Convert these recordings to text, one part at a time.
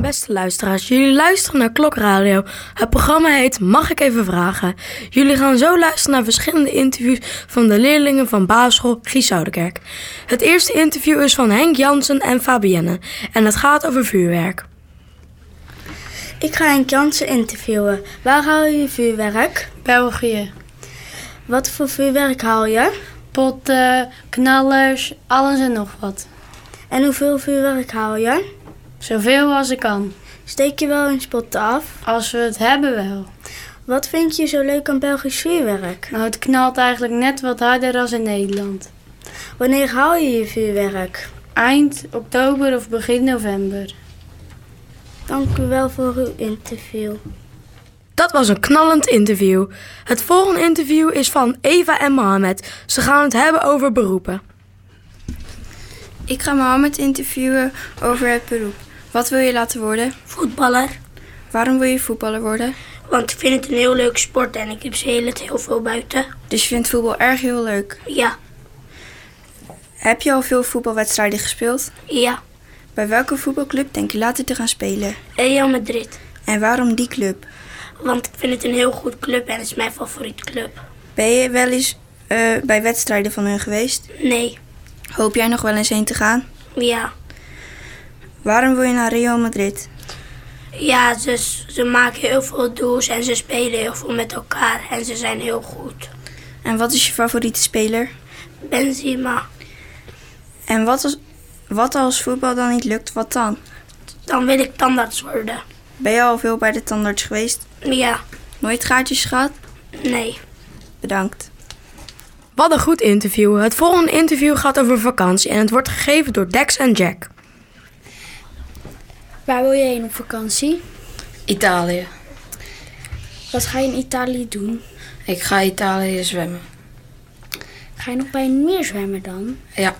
beste luisteraars. Jullie luisteren naar Klokradio. Het programma heet Mag ik even vragen? Jullie gaan zo luisteren naar verschillende interviews van de leerlingen van basisschool Giesouderkerk. Het eerste interview is van Henk Jansen en Fabienne en het gaat over vuurwerk. Ik ga Henk Jansen interviewen. Waar haal je vuurwerk? België. Wat voor vuurwerk haal je? Potten, knallers, alles en nog wat. En hoeveel vuurwerk haal je? Zoveel als ik kan. Steek je wel eens potten af? Als we het hebben wel. Wat vind je zo leuk aan Belgisch vuurwerk? Nou, het knalt eigenlijk net wat harder als in Nederland. Wanneer haal je je vuurwerk? Eind oktober of begin november. Dank u wel voor uw interview. Dat was een knallend interview. Het volgende interview is van Eva en Mohamed. Ze gaan het hebben over beroepen. Ik ga Mohammed interviewen over het beroep. Wat wil je laten worden? voetballer. Waarom wil je voetballer worden? Want ik vind het een heel leuk sport en ik heb ze heel, het heel veel buiten. Dus je vindt voetbal erg heel leuk. Ja, Heb je al veel voetbalwedstrijden gespeeld? ja. Bij welke voetbalclub denk je later te gaan spelen? Real Madrid. En waarom die club? Want ik vind het een heel goed club en het is mijn favoriete club. Ben je wel eens eh, bij wedstrijden van hun geweest? Nee, Hoop jij nog wel eens heen te gaan? ja. Waarom wil je naar Real Madrid? Ja, ze, ze maken heel veel doels en ze spelen heel veel met elkaar en ze zijn heel goed. En wat is je favoriete speler? Benzema, En wat als, wat als voetbal dan niet lukt, wat dan? dan wil ik tandarts worden. Ben je al veel bij de tandarts geweest? Ja, Nooit gaatjes gehad? nee. Bedankt. Wat een goed interview. Het volgende interview gaat over vakantie en het wordt gegeven door Dex en Jack. Waar wil je heen op vakantie? Italië. Wat ga je in Italië doen? Ik ga Italië zwemmen. Ga je nog bij een meer zwemmen dan? Ja,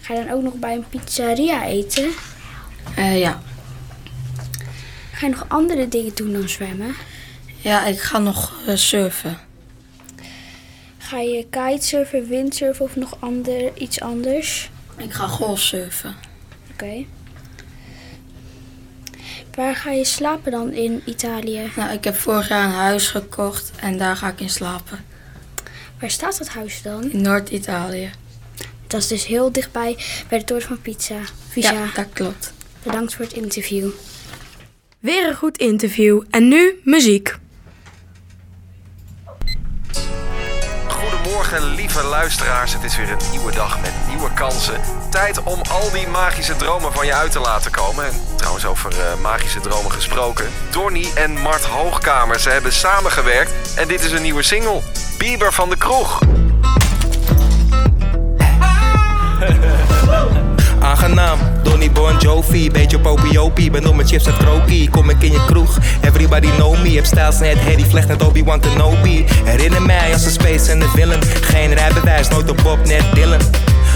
Ga je dan ook nog bij een pizzeria eten? eh, ja. Ga je nog andere dingen doen dan zwemmen? Ja, ik ga nog eh, surfen. Ga je kitesurfen, windsurfen of nog ander, iets anders? Ik ga golfsurfen. Oké. Waar ga je slapen dan in Italië? Nou, ik heb vorig jaar een huis gekocht en daar ga ik in slapen. Waar staat dat huis dan? In Noord-Italië. Dat is dus heel dichtbij bij de toren van Pizza. Visa. Ja, dat klopt. Bedankt voor het interview. Weer een goed interview. En nu muziek. Goedemorgen, lieve luisteraars. Het is weer een nieuwe dag met nieuwe kansen. Tijd om al die magische dromen van je uit te laten komen. En trouwens, over eh, magische dromen gesproken. Donny en Mart Hoogkamer, ze hebben samengewerkt. En dit is een nieuwe single: Bieber van de Kroeg. Aangenaam, Donny Bon Jovi, beetje popiopie. Ben op mijn chips en kroki, kom ik in je kroeg. Everybody know me, heb stijls net Harry Vlecht net Obi-Wan Kenobi. Herinner mij als een space en een villain. Geen rijbewijs, nooit op Bob, net Dylan.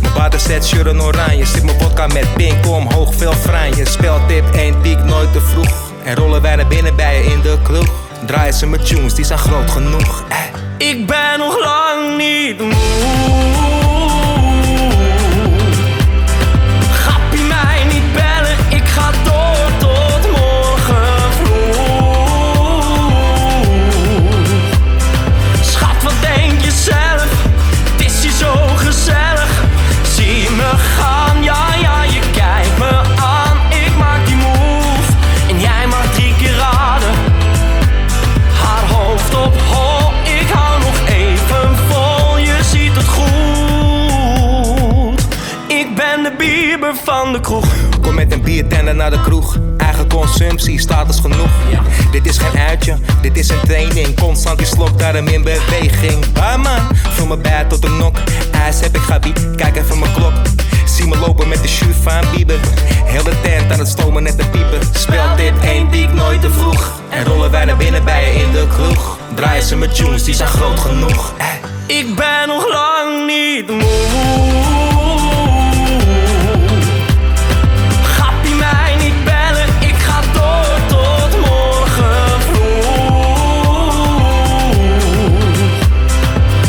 Mijn water zet shirt en oranje, zit mijn vodka met pink omhoog, veel franje. Speltip 1 piek, nooit te vroeg. En rollen wij naar binnen bij je in de kroeg. Draaien ze mijn tunes, die zijn groot genoeg. eh. Ik ben nog lang niet moe. Grappie mij niet bellen, ik ga door tot morgen vroeg. Schat, wat denk je zelf? Het is hier zo gezellig. Zie me gaan, ja, ja, je kijkt me aan. Ik maak die move en jij mag drie keer raden. Haar hoofd op hol, ik hou nog even vol, je ziet het goed. Ik ben de bieber van de kroeg. Kom met een biertender naar de kroeg. Eigen consumptie, status genoeg. Dit is geen uitje, dit is een training. Constant die slok, daarom in beweging. Barman, van mijn bij tot de nok. IJs heb ik gabi, kijk even mijn klok. Zie me lopen met de shoe van Bieber. Heel de tent aan het stomen net te piepen. Speel dit één piek nooit te vroeg. En rollen wij naar binnen bij je in de kroeg. Draaien ze met tunes, die zijn groot genoeg. Ik ben nog lang niet moe. Grappie mij niet bellen, ik ga door tot morgen vroeg.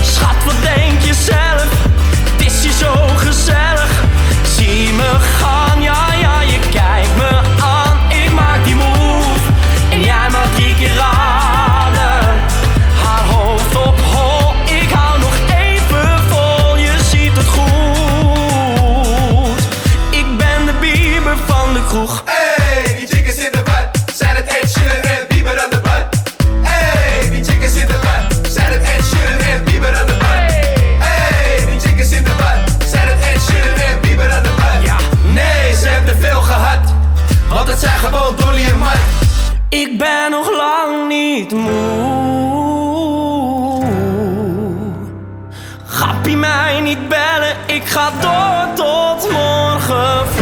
Schat, wat denk je zelf? Het is hier zo gezellig. Zie me gaan, ja, ja, je kijkt me aan. Ik ben nog lang niet moe. Gappie mij niet bellen, ik ga door tot morgen vroeg.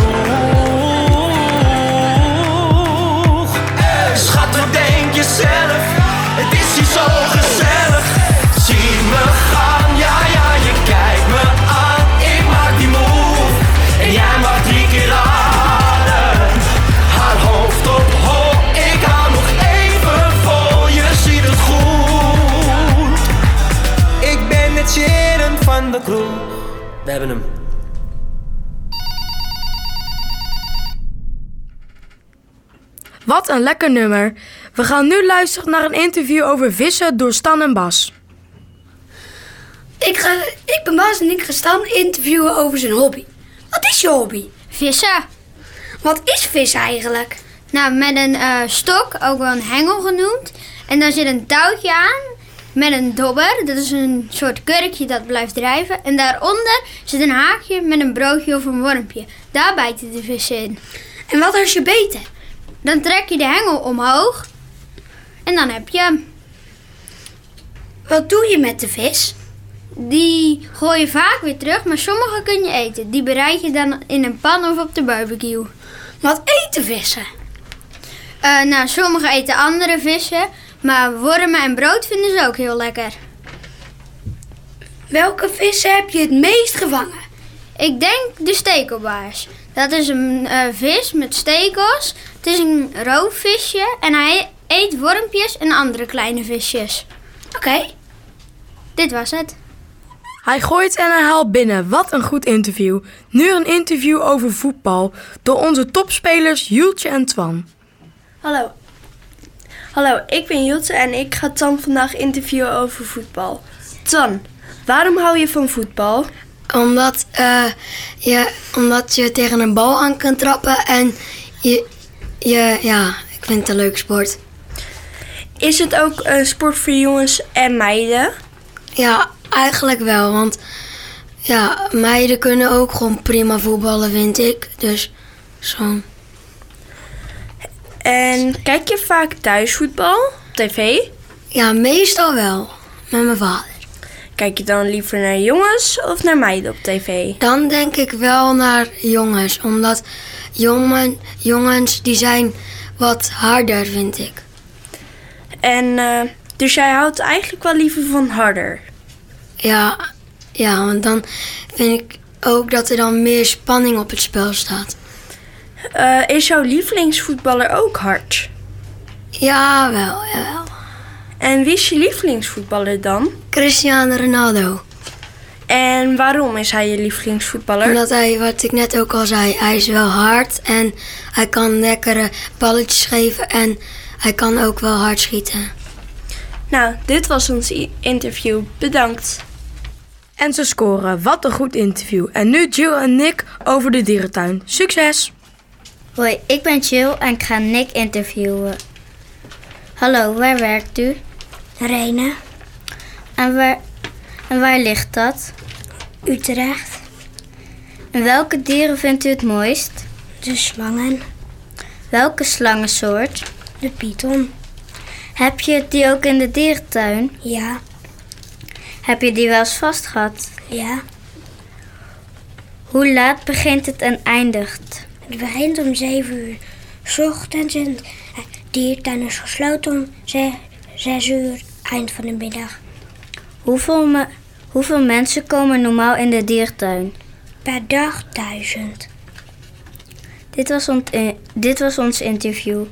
Schat, wat denk je zelf? Het is hier zo gezellig. Zie me gaan, ja, ja, je kijkt me aan. Ik maak die move en jij maakt drie keer raden. Haar hoofd op hoog, ik hou nog even vol, je ziet het goed. Ik ben het sheren van de kroeg. We hebben hem. Wat een lekker nummer. We gaan nu luisteren naar een interview over vissen door Stan en Bas. Ik, ga, ik ben Baas en ik ga Stan interviewen over zijn hobby. Wat is je hobby? Vissen. Wat is vis eigenlijk? Nou, met een eh, stok, ook wel een hengel genoemd. En daar zit een touwtje aan met een dobber. Dat is een soort kurkje dat blijft drijven. En daaronder zit een haakje met een broodje of een wormpje. Daar bijten de vissen in. En wat als je beten? Dan trek je de hengel omhoog. En dan heb je hem. Wat doe je met de vis? Die gooi je vaak weer terug, maar sommige kun je eten. Die bereid je dan in een pan of op de barbecue. Wat eten vissen? Eh, nou, sommigen eten andere vissen, maar wormen en brood vinden ze ook heel lekker. Welke vissen heb je het meest gevangen? Ik denk de stekelbaars. Dat is een eh, vis met stekels. Het is een roofvisje en hij eet wormpjes en andere kleine visjes. Oké, Dit was het. Hij gooit en hij haalt binnen. Wat een goed interview. Nu een interview over voetbal door onze topspelers Jultje en Twan. Hallo. Hallo, ik ben Jutte en ik ga Tan vandaag interviewen over voetbal. Tan, waarom hou je van voetbal? Omdat, eh, je, omdat je tegen een bal aan kan trappen en je, je, ja, ik vind het een leuk sport. Is het ook een sport voor jongens en meiden? Ja, eigenlijk wel, want ja, meiden kunnen ook gewoon prima voetballen, vind ik. Dus zo. En kijk je vaak thuis voetbal op tv? Ja, meestal wel, met mijn vader. Kijk je dan liever naar jongens of naar meiden op tv? Dan denk ik wel naar jongens, omdat jongen, jongens die zijn wat harder, vind ik. En eh, dus jij houdt eigenlijk wel liever van harder. Ja, ja, want dan vind ik ook dat er dan meer spanning op het spel staat. Eh, is jouw lievelingsvoetballer ook hard? Ja, wel, jawel. En wie is je lievelingsvoetballer dan? Cristiano Ronaldo. En waarom is hij je lievelingsvoetballer? Nou. Omdat hij, wat ik net ook al zei, hij is wel hard en hij kan lekkere balletjes geven en hij kan ook wel hard schieten. Nou, dit was ons i- interview. Bedankt. En ze scoren. Wat een goed interview. En nu Jill en Nick over de dierentuin. Succes! Hoi, ik ben Jill en ik ga Nick interviewen. Hallo, waar werkt u? Renen, En waar, en waar ligt dat? Utrecht, En welke dieren vindt u het mooist? de slangen, Welke slangensoort? de python, Heb je die ook in de dierentuin? ja, Heb je die wel eens vastgehad? ja. Hoe laat begint het en eindigt? Het begint om 7 uur s ochtends en eh, diertuin is gesloten om 6 uur eind van de middag. Hoeveel, me- hoeveel mensen komen normaal in de dierentuin? Per dag 1000. Dit was, ont- eh, dit was ons interview.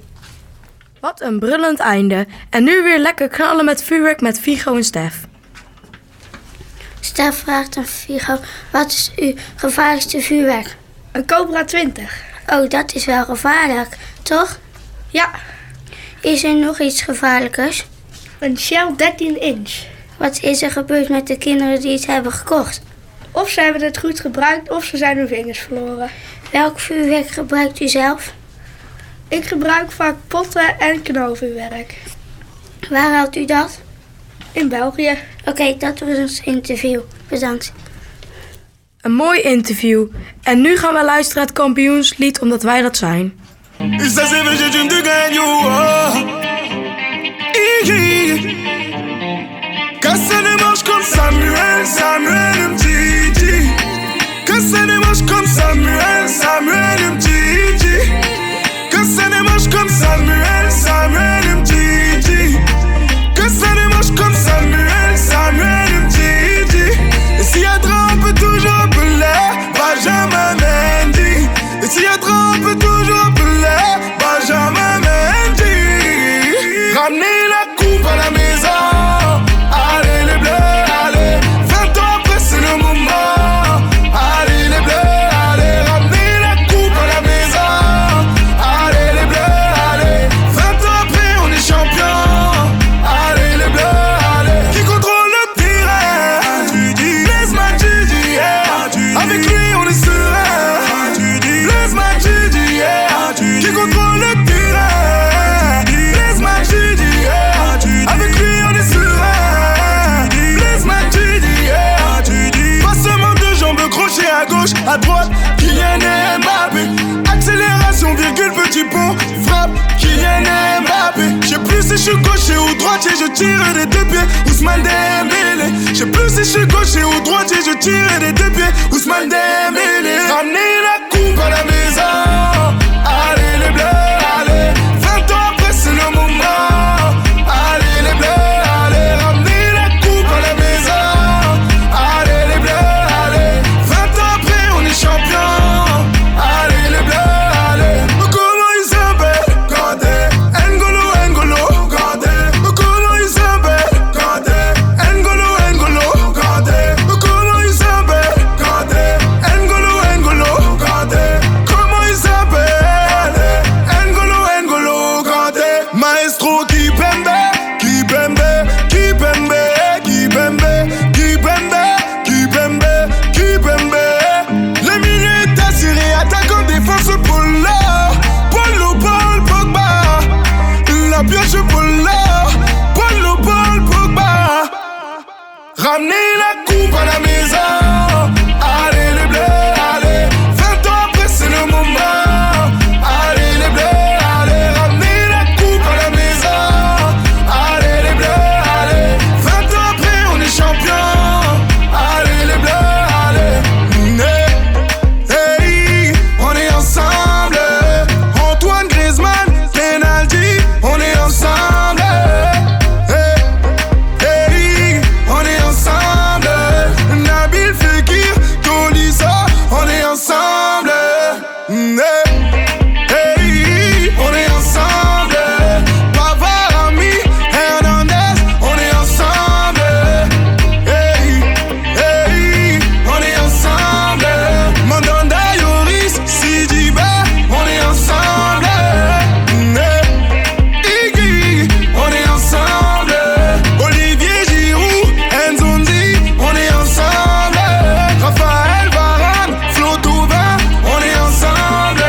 Wat een brullend einde. En nu weer lekker knallen met vuurwerk met Vigo en Stef. Stef vraagt aan Vigo, wat is uw gevaarlijkste vuurwerk? Een Cobra 20. Oh, dat is wel gevaarlijk, toch? Ja, Is er nog iets gevaarlijkers? een Shell 13 inch. Wat is er gebeurd met de kinderen die het hebben gekocht? Of ze hebben het goed gebruikt of ze zijn hun vingers verloren. Welk vuurwerk gebruikt u zelf? Ik gebruik vaak potten en knalvuurwerk. Waar haalt u dat? In België. Oké, dat was ons interview. Bedankt. Een mooi interview. En nu gaan we luisteren naar het kampioenslied omdat wij dat zijn. Ça c'est vrai, j'ai une de gagne, oh. Cassez les manches comme Samuel, Samuel Mtiti. Cassez les manches comme Samuel, Samuel Mtiti. Cassez les manches comme Samuel, Samuel Mtiti. Cassez les manches comme Samuel, Samuel Mtiti. Et s'il y a drame, on peut toujours appeler Benjamin Mendy. Et s'il y a drame, on peut toujours appeler Benjamin Mendy. Ramenez la coupe à la maison. Allez les bleus, allez. 20 ans après, c'est le moment. Allez les bleus, allez. Ramenez la coupe à la maison. Allez les bleus, allez. 20 ans après, on est champion. Allez les bleus, allez. Qui contrôle le terrain Blaise Matuidi, yeah. Avec lui, on est serein. Blaise Matuidi, yeah. Qui contrôle le terrain Blaise Matuidi, yeah. Avec lui, on est serein. Blaise Matuidi, yeah. Pas seulement deux jambes, crochet à gauche, à droite. Kylian Mbappé. Accélération, virgule, petit pont. Frappe, Kylian Mbappé. Je sais plus si je suis gaucher ou droitier, je tire des deux pieds. Ousmane Dembélé. Je sais plus si je suis gaucher ou droitier, je tire des deux pieds. Ousmane Dembélé. Ramenez la coupe à la maison. Allez les bleus, allez. 20 ans après, c'est le moment. Allez les bleus, allez. Ramenez la coupe à la maison. Allez les bleus, allez. 20 ans après, on est champion. Allez les bleus, allez. Okolo Isabelle, Gardez. N'Golo, N'Golo, Gardez. Okolo Isabelle, Gardez. N'Golo, N'Golo, Gardez. Okolo Isabelle, Gardez. N'Golo, N'Golo, Gardez. Comment Isabelle, N'Golo, N'Golo, Gardez. Maestro Kipembe, Kipembe, Kipembe, Kipembe, Kipembe, Kipembe, Kipembe. Les milieux étaient serrés, attaquant défense pour là. Polo, Paul, Pogba. La pioche pour là. Polo, Paul, Pogba. Ramenez la coupe à la maison. Allez les bleus, allez. 20 ans après, c'est le moment. Allez les bleus, allez. Ramenez la coupe à la maison. Allez les bleus, allez. 20 ans après, on est champion. Allez les bleus, allez. Né. Hey, on est ensemble. Antoine Griezmann, Penalty, on est ensemble. Hey. Eric, on est ensemble. Nabil Fekir, Tolisa, on est ensemble. Mm, eh. Hey. Eric, on est ensemble. Pavard, Ami, Hernandez, on est ensemble. Hey. Hey. On est ensemble. Mandanda, Yoris, Sidibé, on est ensemble. Hey. Iggy, on est ensemble. Olivier Giroud, Nzonzi, on est ensemble. Raphaël Varane, Flo Thauvin, on est ensemble.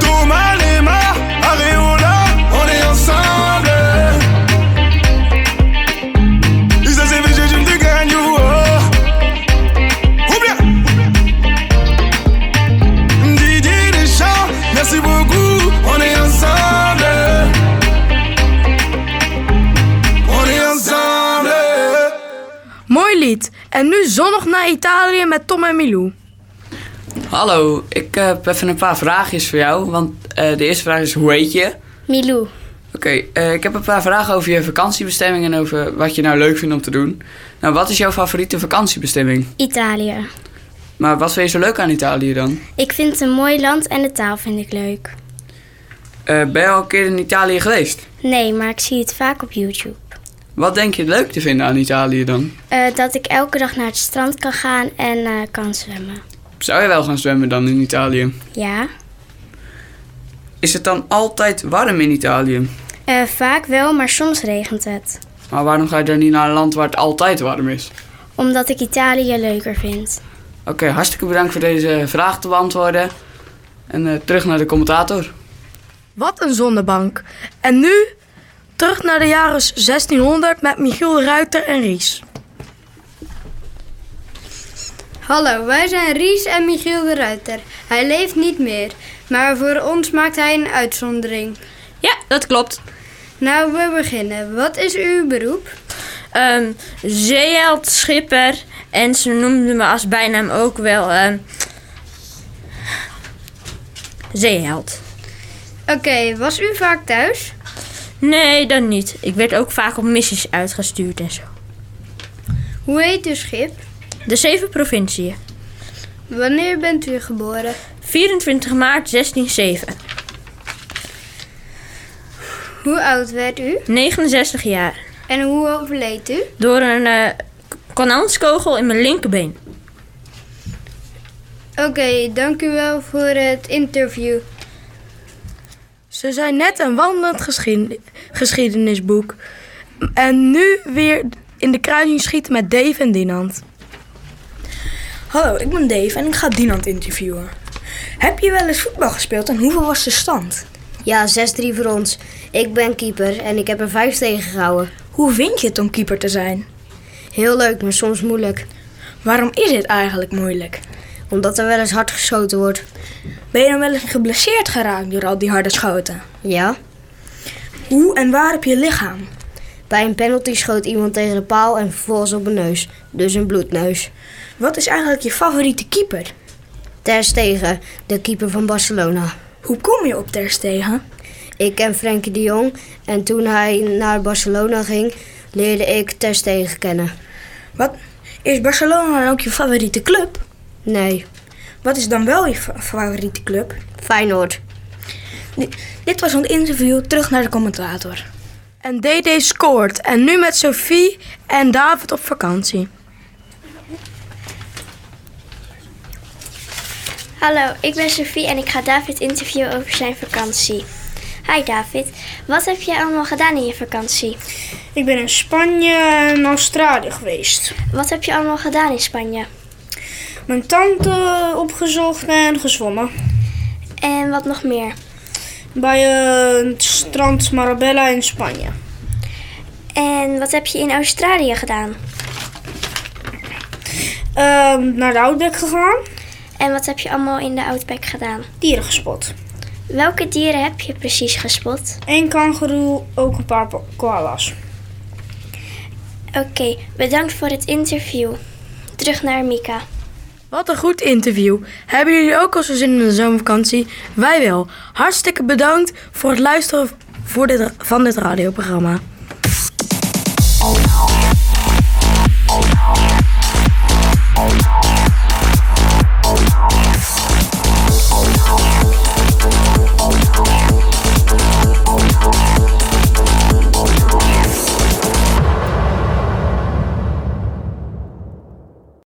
Thomas Lemar, Areola, on est ensemble. Isa CVG, je me gagne, oh. Ou bien. Didier Deschamps, merci beaucoup, on est ensemble. On est ensemble. Mooi lied. En nu zonnig naar Italië met Tom en Milou. Hallo, ik eh, heb even een paar vraagjes voor jou. Want eh, de eerste vraag is: hoe heet je? Oké, Milou. eh, ik heb een paar vragen over je vakantiebestemming en over wat je nou leuk vindt om te doen. Nou, wat is jouw favoriete vakantiebestemming? Italië. Maar wat vind je zo leuk aan Italië dan? Ik vind het een mooi land en de taal vind ik leuk. Eh, ben je al een keer in Italië geweest? Nee, maar ik zie het vaak op YouTube. Wat denk je leuk te vinden aan Italië dan? Eh, dat ik elke dag naar het strand kan gaan en eh, kan zwemmen. Zou je wel gaan zwemmen dan in Italië? Ja, Is het dan altijd warm in Italië? Eh, vaak wel, maar soms regent het. Maar waarom ga je dan niet naar een land waar het altijd warm is? Omdat ik Italië leuker vind. Oké, hartstikke bedankt voor deze vraag te beantwoorden. En eh, terug naar de commentator. Wat een zonnebank. En nu terug naar de jaren 1600 met Michiel Ruiter en Ries. Hallo, wij zijn Ries en Michiel de Ruiter. Hij leeft niet meer, maar voor ons maakt hij een uitzondering. Ja, dat klopt. Nou, we beginnen. Wat is uw beroep? ehm zeeheld Schipper. En ze noemden me als bijnaam ook wel ehm, zeeheld. Oké, was u vaak thuis? Nee, dan niet. Ik werd ook vaak op missies uitgestuurd en zo. Hoe heet uw schip? De zeven provinciën. Wanneer bent u geboren? 24 maart 1607. Hoe oud werd u? 69 jaar. En hoe overleed u? Door een eh, k- kanonskogel in mijn linkerbeen. Oké, dank u wel voor het interview. Ze zijn net een wandelend geschiedenis- geschiedenisboek. En nu weer in de kruising schieten met Dave en Dinant. Hallo, ik ben Dave en ik ga Dinant interviewen. Heb je wel eens voetbal gespeeld en hoeveel was de stand? Ja, 6-3 voor ons. Ik ben keeper en ik heb er 5 tegen gehouden. Hoe vind je het om keeper te zijn? Heel leuk, maar soms moeilijk. Waarom is het eigenlijk moeilijk? Omdat er wel eens hard geschoten wordt. Ben je dan wel eens geblesseerd geraakt door al die harde schoten? Ja. Hoe en waar op je lichaam? Bij een penalty schoot iemand tegen de paal en vervolgens op mijn neus. Dus een bloedneus. Wat is eigenlijk je favoriete keeper? Ter Stegen, de keeper van Barcelona. Hoe kom je op Ter Stegen? Ik ken Frenkie de Jong en toen hij naar Barcelona ging, leerde ik Ter Stegen kennen. Wat? Is Barcelona dan ook je favoriete club? Nee. Wat is dan wel je fa- favoriete club? Feyenoord. Dit was een interview, terug naar de commentator. En DD scoort. En nu met Sophie en David op vakantie. Hallo, ik ben Sophie en ik ga David interviewen over zijn vakantie. Hi David, wat heb jij allemaal gedaan in je vakantie? Ik ben in Spanje en Australië geweest. Wat heb je allemaal gedaan in Spanje? Mijn tante opgezocht en gezwommen. En wat nog meer? Bij eh, het strand Marabella in Spanje. En wat heb je in Australië gedaan? Ehm, naar de Outback gegaan. En wat heb je allemaal in de Outback gedaan? Dieren gespot. Welke dieren heb je precies gespot? Eén kangeroe, ook een paar po- koalas. Oké, bedankt voor het interview. Terug naar Mika. Wat een goed interview. Hebben jullie ook al zo zin in de zomervakantie? Wij wel. Hartstikke bedankt voor het luisteren voor dit, van dit radioprogramma.